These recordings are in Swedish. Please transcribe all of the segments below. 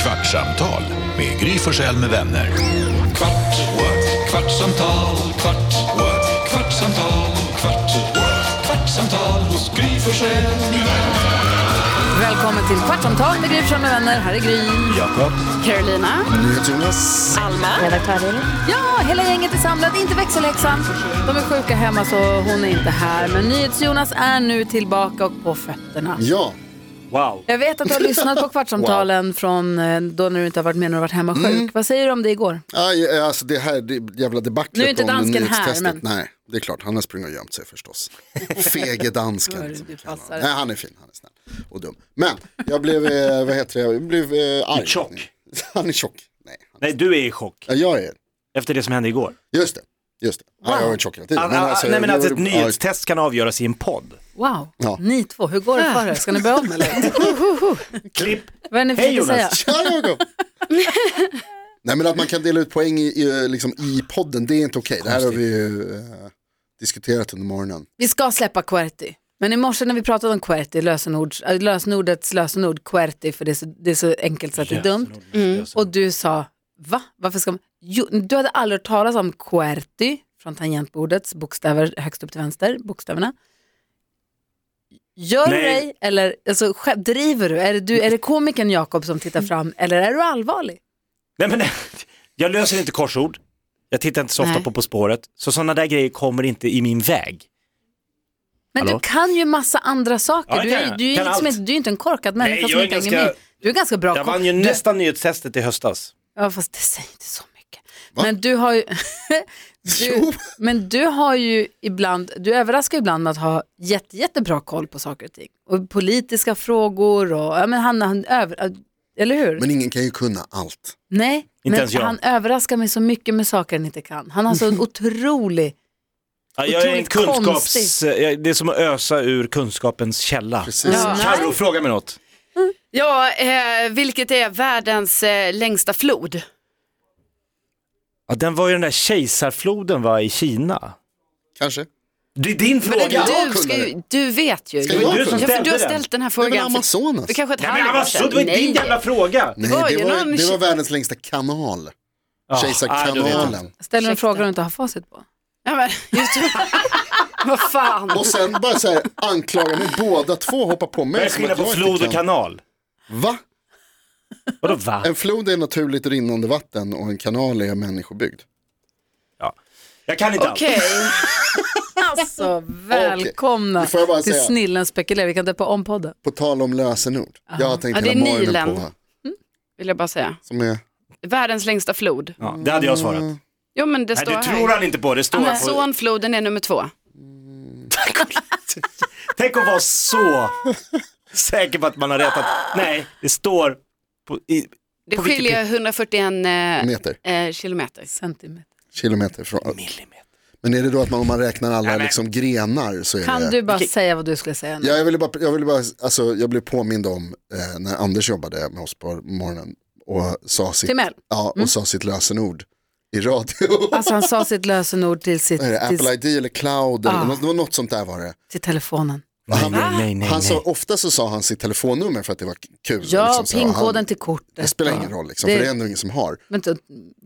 Kvartsamtal med Gry Forssell med vänner. Kvart, what? kvartsamtal, kvart, what? kvartsamtal, kvart, what? kvartsamtal hos Gry Forssell med vänner. Välkommen till Kvartsamtal med Gry Forssell med vänner. Här är Gry. Jakob. Carolina. Jonas. Alma. Ja, hela gänget är samlat, inte växelhäxan. De är sjuka hemma så hon är inte här. Men NyhetsJonas är nu tillbaka och på fötterna. Ja, Jag vet att du har lyssnat på Kvartsamtalen från eh, då när du inte har varit med när du har varit hemma sjuk. Vad säger du om det igår? Aj, alltså det här det jävla debaclet Nu är inte om dansken här, nyhetstestet. men- Nej, det är klart, han har sprungit och gömt sig förstås. Fege Hör, dansken. som du vi kallar passar. honom. Nej, han är fin, han är snäll och dum. Men jag blev, eh, vad heter det, jag blev eh, arg. Tjock. Han är tjock. Nej, han... Nej, du är i chock ja, jag är, efter det som hände igår. just det. Just det. Ja, jag var tjock hela tiden. Ah, ah, nej, men jag- alltså ett jag- nyhetstest kan avgöras i en podd. Wow, Ja. ni två, hur går det för er? Ska ni börja om eller? Klipp. Vad är det ni Hej, försöker säga? Jonas. Tja Jakob! Nej men att man kan dela ut poäng i, i, liksom, i podden, det är inte okej. Det här har vi ju eh, diskuterat under morgonen. Vi ska släppa QWERTY. Men i morse när vi pratade om QWERTY, lösenords, äh, lösenordets lösenord QWERTY, för det är så, det är så enkelt så att det är dumt. Mm. Och du sa, va? Varför ska man? Jo, du hade aldrig hört talas om QWERTY från tangentbordets bokstäver högst upp till vänster, bokstäverna. Gör du Nej. dig, eller alltså, skä- driver du? Är det, du? är det komikern Jakob som tittar fram, eller är du allvarlig? Nej, men, jag löser inte korsord. Jag tittar inte så ofta Nej. på På spåret. Så sådana där grejer kommer inte i min väg. Men Hallå? du kan ju massa andra saker. Ja, det du, kan är, jag. du, är ju Kan liksom allt. inte, du är inte en korkad människa jag som är inte hänger ganska- med. Du är ganska bra Jag koll. vann ju Du- nästan nyhetstestet i höstas. Ja, fast det säger inte så mycket. Men du har ju... du, Jo. men du har ju ibland, du överraskar ibland med att ha jätte, jättebra koll på saker och ting. Och politiska frågor och, ja men han, han över, eller hur? Men ingen kan ju kunna allt. Nej, Inte men ens jag. han överraskar mig så mycket med saker han inte kan. Han har så en otrolig, Ja, jag är en Otroligt kunskaps... eh, konstigt. jag- Det är som att ösa ur kunskapens källa. Precis. Ja. Carro, fråga mig något. Ja, eh, vilket är världens eh, längsta flod? Ja, den var ju den där kejsarfloden va, i Kina. Kanske. Det är din Men fråga! det, jag du, ska kunde ju, du vet ju. Ska Du- jag du som ja, för ställde du har den? ställt den här Det är väl frågan för, Amazonas? för kanske ett Nej, men halvår alltså, sedan. det var ju din jävla fråga! Nej, Det var ju det var, någon det var tje- världens längsta kanal. Ja, ja, du vet. Kejsarkanalen. ställer en Ursäkta. fråga du inte har facit på. Ja, men, just, vad fan. Och sen bara så här anklaga mig båda två, hoppa på Vad är mig. som skillnaden att på jag flod inte och kanal? Va? Vadå va? En flod är naturligt rinnande vatten och en kanal är människobyggd. Ja. Jag kan inte Okej, Alltså välkomna Okej, får jag bara till säga- Snillen spekulerar, vi kan döpa om podden. På tal om lösenord. Jag har tänkt Ja, det hela är morgonen Nilen. på. vill jag bara säga. Som är, Världens längsta flod. Ja, det hade jag svarat. Mm. Jo, men det Nej, står du här. tror han inte på det. står på... Amazonfloden är nummer två. Tänk att vara så säker på att man har rätt. Att... Nej, det står på... I... Det På Mm. vilket skiljer 141 meter, eh, eh, kilometer. Centimeter. kilometer från. Men är det då att man, om man räknar alla liksom grenar så är det... Kan du bara säga vad du skulle säga nu? Ja, jag ville bara, jag ville bara alltså, jag blev påmind om eh, när Anders jobbade med oss på morgonen och sa sitt, Timell. ja, och sa sitt lösenord i radio. Alltså han sa sitt lösenord till, sitt, Vad är det, till, Apple ID eller cloud, eller, Ah. något, det var något sånt där var det. till telefonen. Nej, nej, nej. nej, han sa, nej. ofta så sa han sitt telefonnummer för att det var k- kul. Ja, liksom, så, pinkoden han- till kortet. Det spelar Ja. ingen roll, liksom, Det- för det är ändå ingen som har. Men inte-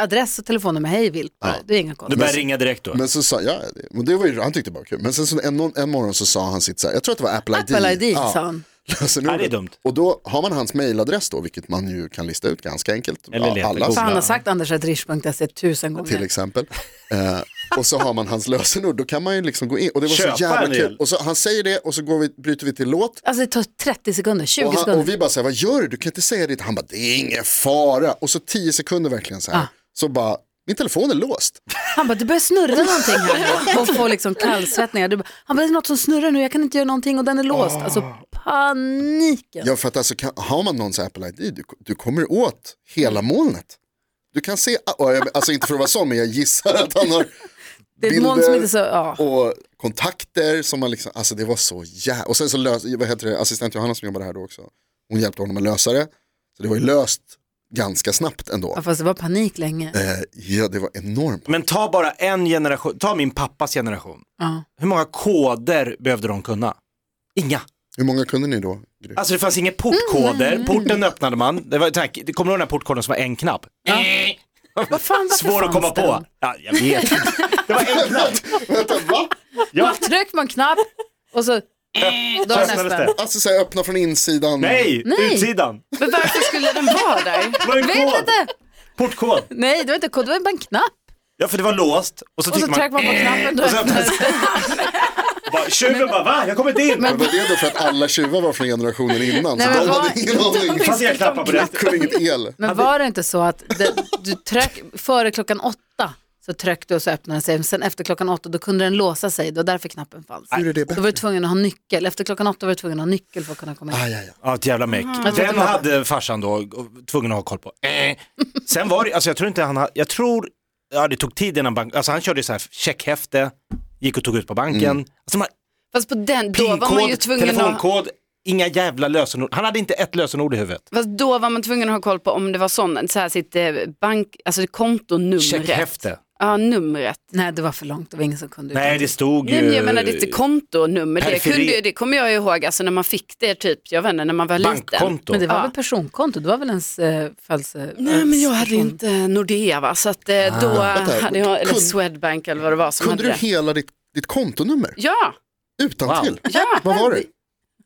adress och telefonnummer, hej vilt bara. Det är inga Du konstigheter. börjar ringa direkt då. Men så sa, ja, det- och det var ju, han tyckte det var kul. Men sen så en, en morgon så sa han sitt, så här, jag tror att det var Apple ID. Apple ID, Ja, sa han. lösenordet. Ja, det är dumt. Och då har man hans mailadress då, vilket man ju kan lista ut ganska enkelt. Eller leta alla Google. För han har Ja. sagt anders.rish.se E tusen till gånger. exempel. Eh, och så har man hans lösenord, då kan man ju liksom gå in. Och det var Köpa så en jävla del. kul. Och så, han säger det och så går vi, bryter vi till låt. Alltså det tar 30 sekunder, 20 Och, han, sekunder. och vi bara så här, vad gör du? Du kan inte säga det. Han bara, det är ingen fara. Och så tio sekunder verkligen så här. Ah. Så bara, min telefon är låst. Han bara, det börjar snurra någonting här nu. och får liksom kallsvettningar. Du bara, Han bara, det är något som snurrar nu, jag kan inte göra någonting och den är låst. Alltså paniken. Ah. Ja, för att alltså, kan, har man någons Apple ID, du, du kommer åt hela molnet. Du kan se, och jag- alltså inte för att vara sån, men jag gissar att han har Det är ett moln som inte så, ja. och kontakter som man liksom, alltså det var så jävla, och sen så lös, vad heter det, assistent Johanna som jobbade här då också, hon hjälpte honom att lösa det, så det var ju löst ganska snabbt ändå. ja. Fast det var panik länge. Eh, ja, det var enormt. Men ta bara en generation, ta min pappas generation. Ja. Hur många koder behövde de kunna? Inga. Hur många kunde ni då? Gry? Alltså det fanns inga Mm. portkoder, porten öppnade man. Det var, tack, det kommer du ihåg den här portkoden som var en knapp? Vad fan, varför Svår att fanns komma den? på. Ja, jag vet inte. Det var en knapp. Vänta, va? Ja, Tryck man knapp och så... Då så är öppnades nästa. det. Alltså så här, öppna från insidan. Nej, utsidan. Men varför skulle den vara där? Det var en Vet kod. inte! Portkod. Nej, det var inte kod, det var bara en knapp. Ja, för det var låst. Och så Och så tryckte tryckte man. man eh, på knappen. Då Och så öppnades öppnades det. Bara, Tjuven bara, va? Jag kommer inte in. Men var det då för att alla tjuvar var från generationen innan? Nej, så men de vad- hade ingen aning. Det fanns inga knappar på det. De kunde inget el. Men var det inte så att det, du tryck, före klockan åtta så tryckte du och så öppnade den sig. Men sen efter klockan åtta då kunde den låsa sig. Det var därför knappen fanns. Hur är det Då bättre? var du tvungen att ha nyckel. Efter klockan åtta var du tvungen att ha nyckel för att kunna komma in. Aj, aj, aj. Ja, ett jävla meck. Den hade farsan då och- tvungen att ha koll på. Eh. Sen var det, alltså jag tror inte han, ha- jag tror, ja det tog tid innan banken, alltså han körde ju så här checkhäfte, gick och tog ut på banken. Alltså man, Fast på den, då var man ju pinkod, tvungen att, telefonkod, inga jävla lösenord. Han hade inte ett lösenord i huvudet. fast då var man tvungen att ha koll på om det var sån, så här sitt eh, bank, alltså kontonumret. Checkhäfte. Ja, numret. Nej, det var för långt. Det var ingen som kunde. Nej, det stod Nej, ju... men jag menar ditt kontonummer, det, Periferi- kunde, ju- det kommer jag ihåg alltså, när man fick det typ, jag vet inte, när man var liten. Bankkonto. Men det var Ja. väl personkonto? Det var väl ens eh, födelse... Nej men jag hade inte Nordea va, så att eh, då Vänta, hade jag, eller kun- Swedbank eller vad det var som Kunde du hade det. hela ditt, ditt kontonummer? Ja, Utan till? ja. Vad var det?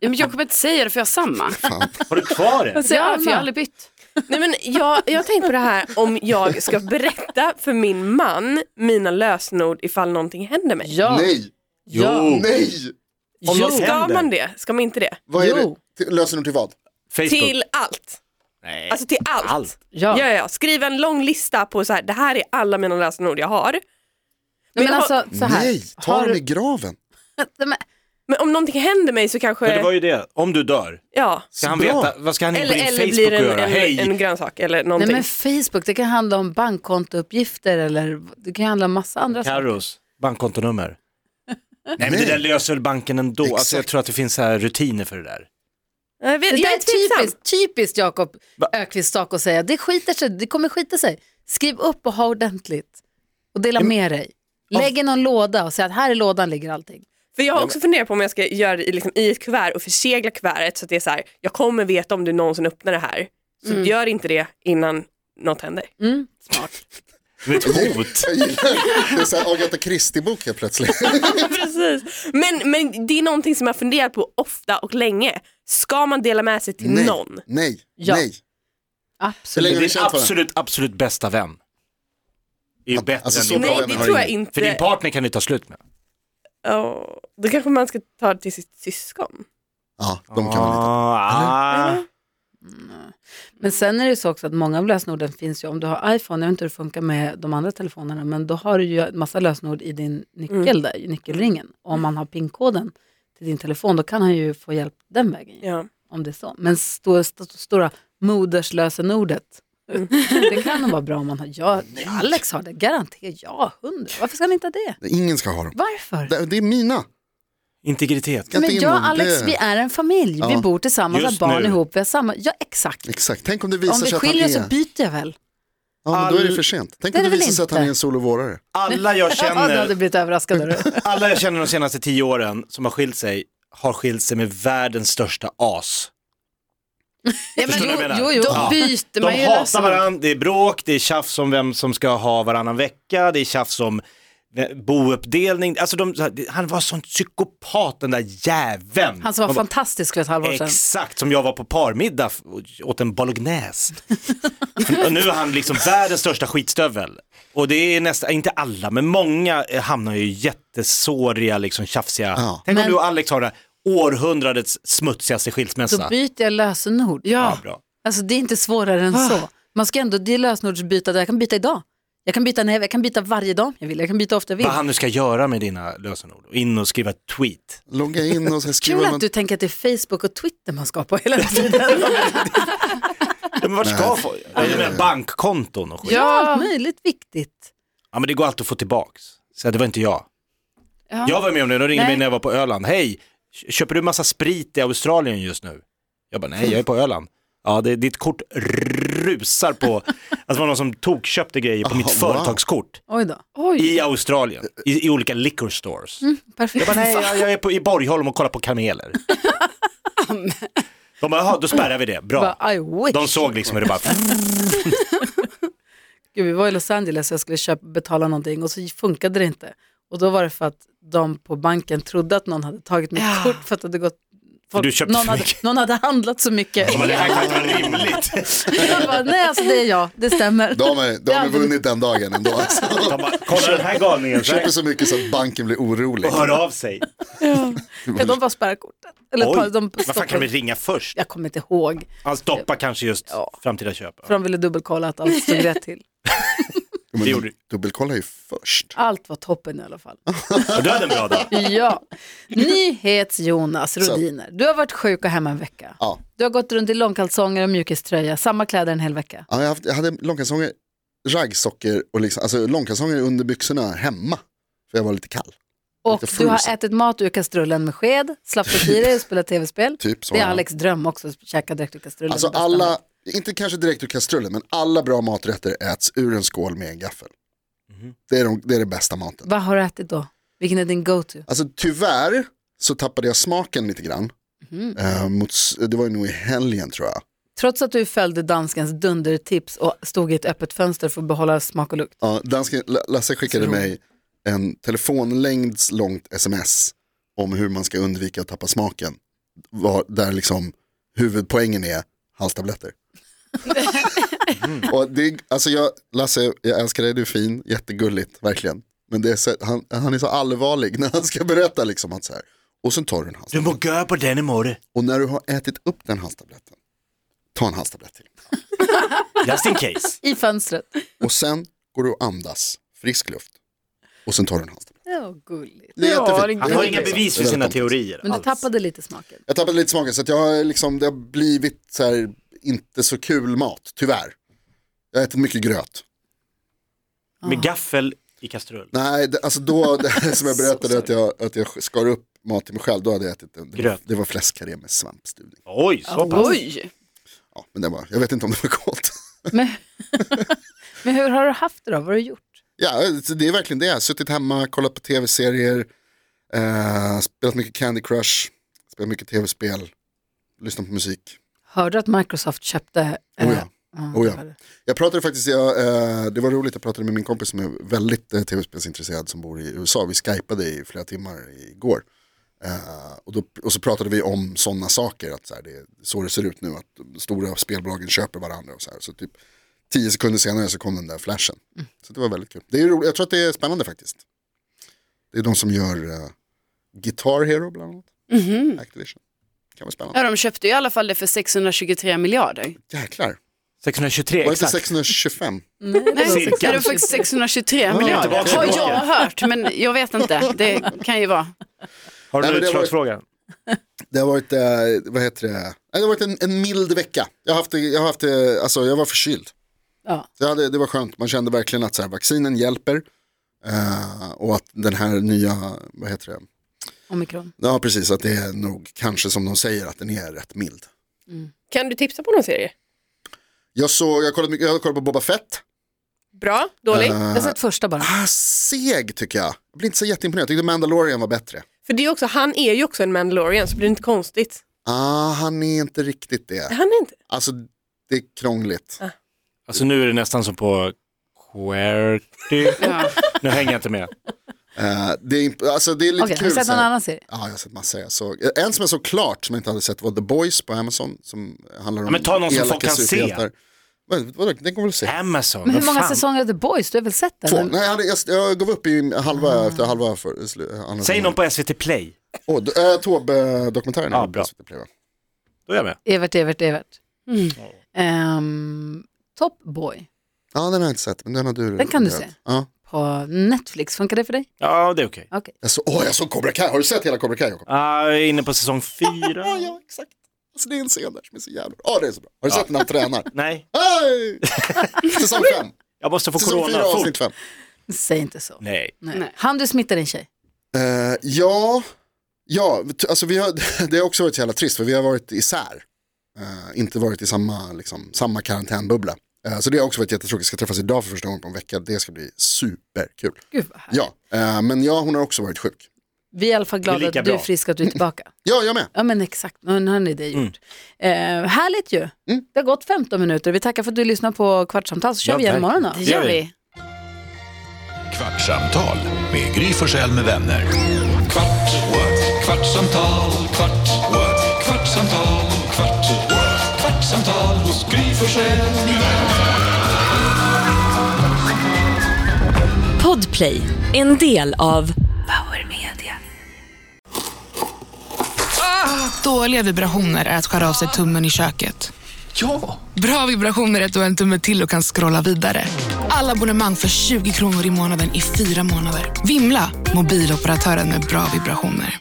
Ja, men jag kommer inte säga det för jag har samma. Fan. Har du kvar det? Ja, för jag Alma? har aldrig bytt. Nej, men jag, jag har tänkt på det här om jag ska berätta för min man mina lösenord ifall någonting händer mig. Ja. Nej, Jo, nej! om något Ska händer. man det? Ska man inte det? Vad är det? Jo. Till- Lösenord till vad? Facebook. Till allt. Nej. Alltså till allt. Allt. Ja. Ja, ja, ja. Skriv en lång lista på så här, det här är alla mina lösenord jag har. Nej, men alltså, så här. Nej, ta Har dem i du- graven. Nej, men- Men om någonting händer mig så kanske, Men det var ju det, om du dör. ja. Ska han bra. veta, vad ska han in på Eller, din eller Facebook blir och en, göra? Hej! en, en grönsak eller Nej någonting. men Facebook, det kan handla om bankkontouppgifter eller det kan handla om massa andra saker. Carros bankkontonummer. Nej men det där löser väl banken ändå. Alltså, jag Exakt. tror att det finns så här rutiner för det där. jag vet, Det jag där är är tveksam. typiskt, typiskt Jakob Va? Ökvist sak att säga. Det skiter sig, det kommer skita sig. Skriv upp och ha ordentligt. Och dela med dig. Lägg i någon låda och säg att här i lådan ligger allting. För jag har också funderat på om jag ska göra det i, liksom, i ett kuvert och försegla kuvertet så att det är så här, jag kommer veta om du någonsin öppnar det här. Så gör inte det innan något händer. Det är ett hot. Jag gillar- Det är så här Agatha Christie-bok helt plötsligt. Precis. Men, men det är någonting som jag har funderat på ofta och länge. Ska man dela med sig till Nej, någon? nej, Ja. nej. Hur Absolut. länge har ni Din känt varandra? absolut, absolut bästa vän. Är ju bättre Alltså, så än din bra Nej vänner det har tror jag ingen. inte. För din partner kan du ta slut med. Ja, då kanske man ska ta det till sitt syskon. Ja, de kan man inte. ah, ah. Men sen är det ju så också att många av lösenorden finns ju, om du har iPhone, jag vet inte hur det funkar med de andra telefonerna, men då har du ju en massa lösenord i din nyckel där, i nyckelringen. Och om man har PIN-koden till din telefon, då kan han ju få hjälp den vägen. ju. Ja. om det är så. Men stora, stora moderslösenordet, det kan nog vara bra om man har. Ja, Alex har det, garanterat. Ja, hundra. Varför ska han inte ha det? Ingen ska ha dem. Varför? Det, det är mina. Integritet. Kan inte Men in jag och någon. Alex, Det- vi är en familj. Vi Ja. bor tillsammans, Just har barn nu. ihop, vi har samma... Ja, exakt. Exakt, tänk om det Om visar vi sig att han skiljer oss så är... byter jag väl? Ja, men då är det för sent. Tänk Det är om det det väl visar sig att han inte. är en solovårare. Alla jag Ja, du känner hade blivit överraskad. av det. Alla jag känner de senaste tio åren som har skilt sig har skilt sig med världens största as. Ja, men Förstår du vad jag då, menar? jo, jo, då Ja. byter De man ju hatar lösenord. varandra, det är bråk, det är tjafs om vem som ska ha varannan vecka, det är tjafs om eh, bouppdelning. Alltså de, så här, det- han var sån psykopat den där jäveln. Han som var Man bara, fantastisk för ett halvår sedan. Exakt, som jag var på parmiddag f- åt en bolognese. och nu är han liksom världens största skitstövel. Och det är nästan, inte alla, men många eh, hamnar ju i jättesåriga, liksom tjafsiga. Ja. Tänk om Men- du och Alex har det här århundradets smutsigaste Då skilsmässa. byter jag lösenord. Ja, bra. Alltså det är inte svårare än så. Man ska ändå, det är lösenordsbyta, jag kan byta idag. Jag kan byta när jag jag kan byta varje dag om jag vill, jag kan byta ofta jag vill. Vad han nu ska göra med dina lösenord, och in och skriva ett tweet. Logga in och så här Kul skriva... att men- du tänker att det är Facebook och Twitter man ska på hela tiden. Ja, men vart ska få? Ja, du menar bankkonton och skit? Ja. ja. Allt möjligt viktigt. men det går alltid att få tillbaks. Så det var inte jag. Ja. Jag var med om det, de ringde Nej. mig när jag var på Öland. Hej, köper du massa sprit i Australien just nu? Jag bara, nej jag är på Öland. Ja, det, ditt kort rusar på, alltså det var någon som tokköpte grejer på Aha, mitt wow. företagskort Oj då. i Australien, i, i olika liquor stores. Mm, Perfekt. Jag bara, nej jag, jag är på, i Borgholm och kollar på kameler. fram. De bara, jaha, då spärrar vi det, bra. Bara, I wish. De såg liksom hur det bara, Gud, vi var i Los Angeles och jag skulle köpa, betala någonting och så funkade det inte. Och då var det för att de på banken trodde att någon hade tagit mitt Ja. kort för att det hade gått För du köpte någon, för hade, mycket. någon hade handlat så mycket. det här kan inte vara rimligt. Jag bara, Nej, alltså det är jag, det stämmer. De har de är har alldeles- vunnit den dagen ändå. Alltså. De bara, kolla den här galningen, så här. Köper så mycket så att banken blir orolig. och hör av sig. Kan de bara spärra kortet? Eller tar, Oj, de vad fan kan vi ringa först? Jag kommer inte ihåg, Han stoppar kanske just framtida köp. för de ville dubbelkolla att allt stod rätt till. Men det gjorde- Dubbelkolla ju först. Allt var toppen i alla fall. Ja, Du hade en bra dag. Ja. Nyhets-Jonas Rodiner, du har varit sjuk och hemma en vecka. Ja. Du har gått runt i långkalsonger och mjukiströja, samma kläder en hel vecka. Ja, jag, har haft, jag hade långkalsonger, raggsockor och liksom, alltså långkalsonger under byxorna hemma. För jag var lite kall. Och Lite du har frusen. ätit mat ur kastrullen med sked, slappnat i dig och spelat tv-spel. Typ så. Det är Alex dröm också, att käka direkt ur kastrullen. Alltså Det bästa han alla, vet. inte kanske direkt ur kastrullen, men alla bra maträtter äts ur en skål med en gaffel. Det, är de, det är det bästa maten. Vad har du ätit då? Vilken är din go-to? Alltså tyvärr så tappade jag smaken lite grann. Mhm. Eh, mot, s- det var ju nog i helgen tror jag. Trots att du följde danskens dundertips och stod i ett öppet fönster för att behålla smak och lukt. Ja, dansken, L- Lasse skickade mig en telefonlängds långt sms om hur man ska undvika att tappa smaken. Var, där liksom huvudpoängen är halstabletter. och det, är- alltså jag, Lasse, jag älskar dig, du är fin, jättegulligt, verkligen. Men det är så, han, han är så allvarlig när han ska berätta. Liksom, att så här. Och sen tar du en Du halstablett. må gå på den imorgon. Och när du har ätit upp den halstabletten, ta en halstablett till. Just in case. I fönstret. Och sen går du och andas frisk luft. Och sen tar du en halstablett. Ja, gulligt. Det är Ja, det är jättefint. Han har inga bevis för Det är sina väldigt komplext. teorier Men du alls. tappade lite smaken. Jag tappade lite smaken så att jag har liksom, det har blivit så här, inte så kul mat, tyvärr. Jag har ätit mycket gröt. Med gaffel i kastrull. Nej, det, alltså då, det, som jag berättade att jag, att jag skar upp mat till mig själv, då hade jag ätit en, det, var, Gröt. det var fläskkarré med svampstuvning. Oj, så pass. Oj, Ja, men det var, jag vet inte om det var gott. Men, men hur har du haft det då? Vad har du gjort? Ja, så det är verkligen det. Jag har suttit hemma, kollat på tv-serier, eh, spelat mycket Candy Crush, spelat mycket tv-spel, lyssnat på musik. Hörde du att Microsoft köpte? eh, Oh ja. ja, Oh ja. det var det. Jag pratade faktiskt, jag, eh, det var roligt, jag pratade med min kompis som är väldigt eh, tv-spelsintresserad som bor i USA. Vi skypade i flera timmar igår. Eh, och, då, och så pratade vi om sådana saker, att så här, det är så det ser ut nu, att de stora spelbolagen köper varandra och så här. Så typ tio sekunder senare så kom den där flashen. Så det var väldigt kul. Det är roligt, jag tror att det är spännande faktiskt. Det är de som gör eh, Guitar Hero bland annat. Activision. Kan vara spännande. ja, de köpte ju i alla fall det för 623 miljarder. Jäklar, 623, var det inte exakt. 625? Nej, Cirka. är det faktiskt 623 Ja, miljarder? tillbaka Har till jag Roger. hört, men jag vet inte. Det kan ju vara. Har du Nej, en men det var- utslagsfråga? Det har varit, eh, vad heter det, Nej, det har varit en, en mild vecka. Jag, har haft, det- jag, har haft, det- alltså, jag var förkyld. Ja. Så jag hade, det var skönt, man kände verkligen att så här, vaccinen hjälper. Eh, och att den här nya, vad heter det, Omikron. ja precis, att det är nog kanske som de säger att den är rätt mild. Kan du tipsa på någon serie? Jag, såg, jag, kollade, mycket- jag kollade på Boba Fett, Bra? Dålig? Jag har sett första bara. ah, seg tycker jag. Jag blir inte så jätteimponerad, jag tyckte Mandalorian var bättre. För det är också, han är ju också en Mandalorian så blir det inte konstigt. Ah, han är inte riktigt det. Han är inte. Alltså det är krångligt. Ah. Alltså nu är det nästan som på QWERTY. Ja. Nu hänger jag inte med. Eh, det, är, imp- alltså, det är lite Okej, har kul. du sett så någon här. annan serie? Ja, jag har sett massor. Jag såg. En som jag såg klart som jag inte hade sett var The Boys på Amazon. Som handlar om men ta någon som elaka folk kan se. superhjältar. Vad- vadå? Den kommer väl se. Amazon, Men hur vad många fan? säsonger av The Boys? Du har väl sett den? Två. Nej, jag, hade, jag, jag gav upp i halva efter halva. För, slu- andra Ah. Säg gången. någon på SVT Play. Åh, d- eh, Taube-dokumentären. Ja, bra. Då är jag med. Evert, Evert, Evert. Ehm, Top Boy Ja, den har jag inte sett. Men den har du. Den kan du rekommenderat. se. Ja. på Netflix, funkar det för dig? Ja, det är okej. Okej. Jag, så, åh, jag såg Cobra Kai. Har du sett hela Cobra Kai, Jakob? Ah, jag är inne på säsong fyra. Ja, ja, exakt. Alltså, det är en scen där som är så jävla bra. Ja, det är så bra. Har du sett när han tränar? Nej, Hej! Säsong fem. jag måste få Säsong corona fyra, fort. avsnitt fem. Säg inte så. Nej. Nej. Nej. Han du smittar din tjej? Eh, ja, ja t- alltså vi har, det har också varit så jävla trist för vi har varit isär. Eh, inte varit i samma, liksom, samma karantänbubbla. Eh, så det har också varit jättetråkigt. Ska träffas idag för första gången på en vecka. Det ska bli superkul. Gud vad härligt. Ja, eh, men jag, hon har också varit sjuk. Vi är i alla fall Det är glada lika att du är bra. frisk och att du är tillbaka. Ja, jag med. Ja men exakt, nu har ni det gjort. Eh, härligt ju. Det har gått 15 minuter. Vi tackar för att du lyssnar på Kvartsamtal så kör Ja, vi igen verkligen. imorgon då. Det Det gör gör vi. Kvartsamtal med Gry Forssell med vänner. kvart, what? kvartsamtal, kvart, what? kvartsamtal, kvart, what? kvartsamtal hos Gry Forssell med vänner. Podplay, en del av Power Media. Ah, Dåliga vibrationer är att skära av sig tummen i köket. Ja! Bra vibrationer är att du har en tumme till och kan scrolla vidare. Alla abonnemang för 20 kronor i månaden i fyra månader. Vimla! Mobiloperatören med bra vibrationer.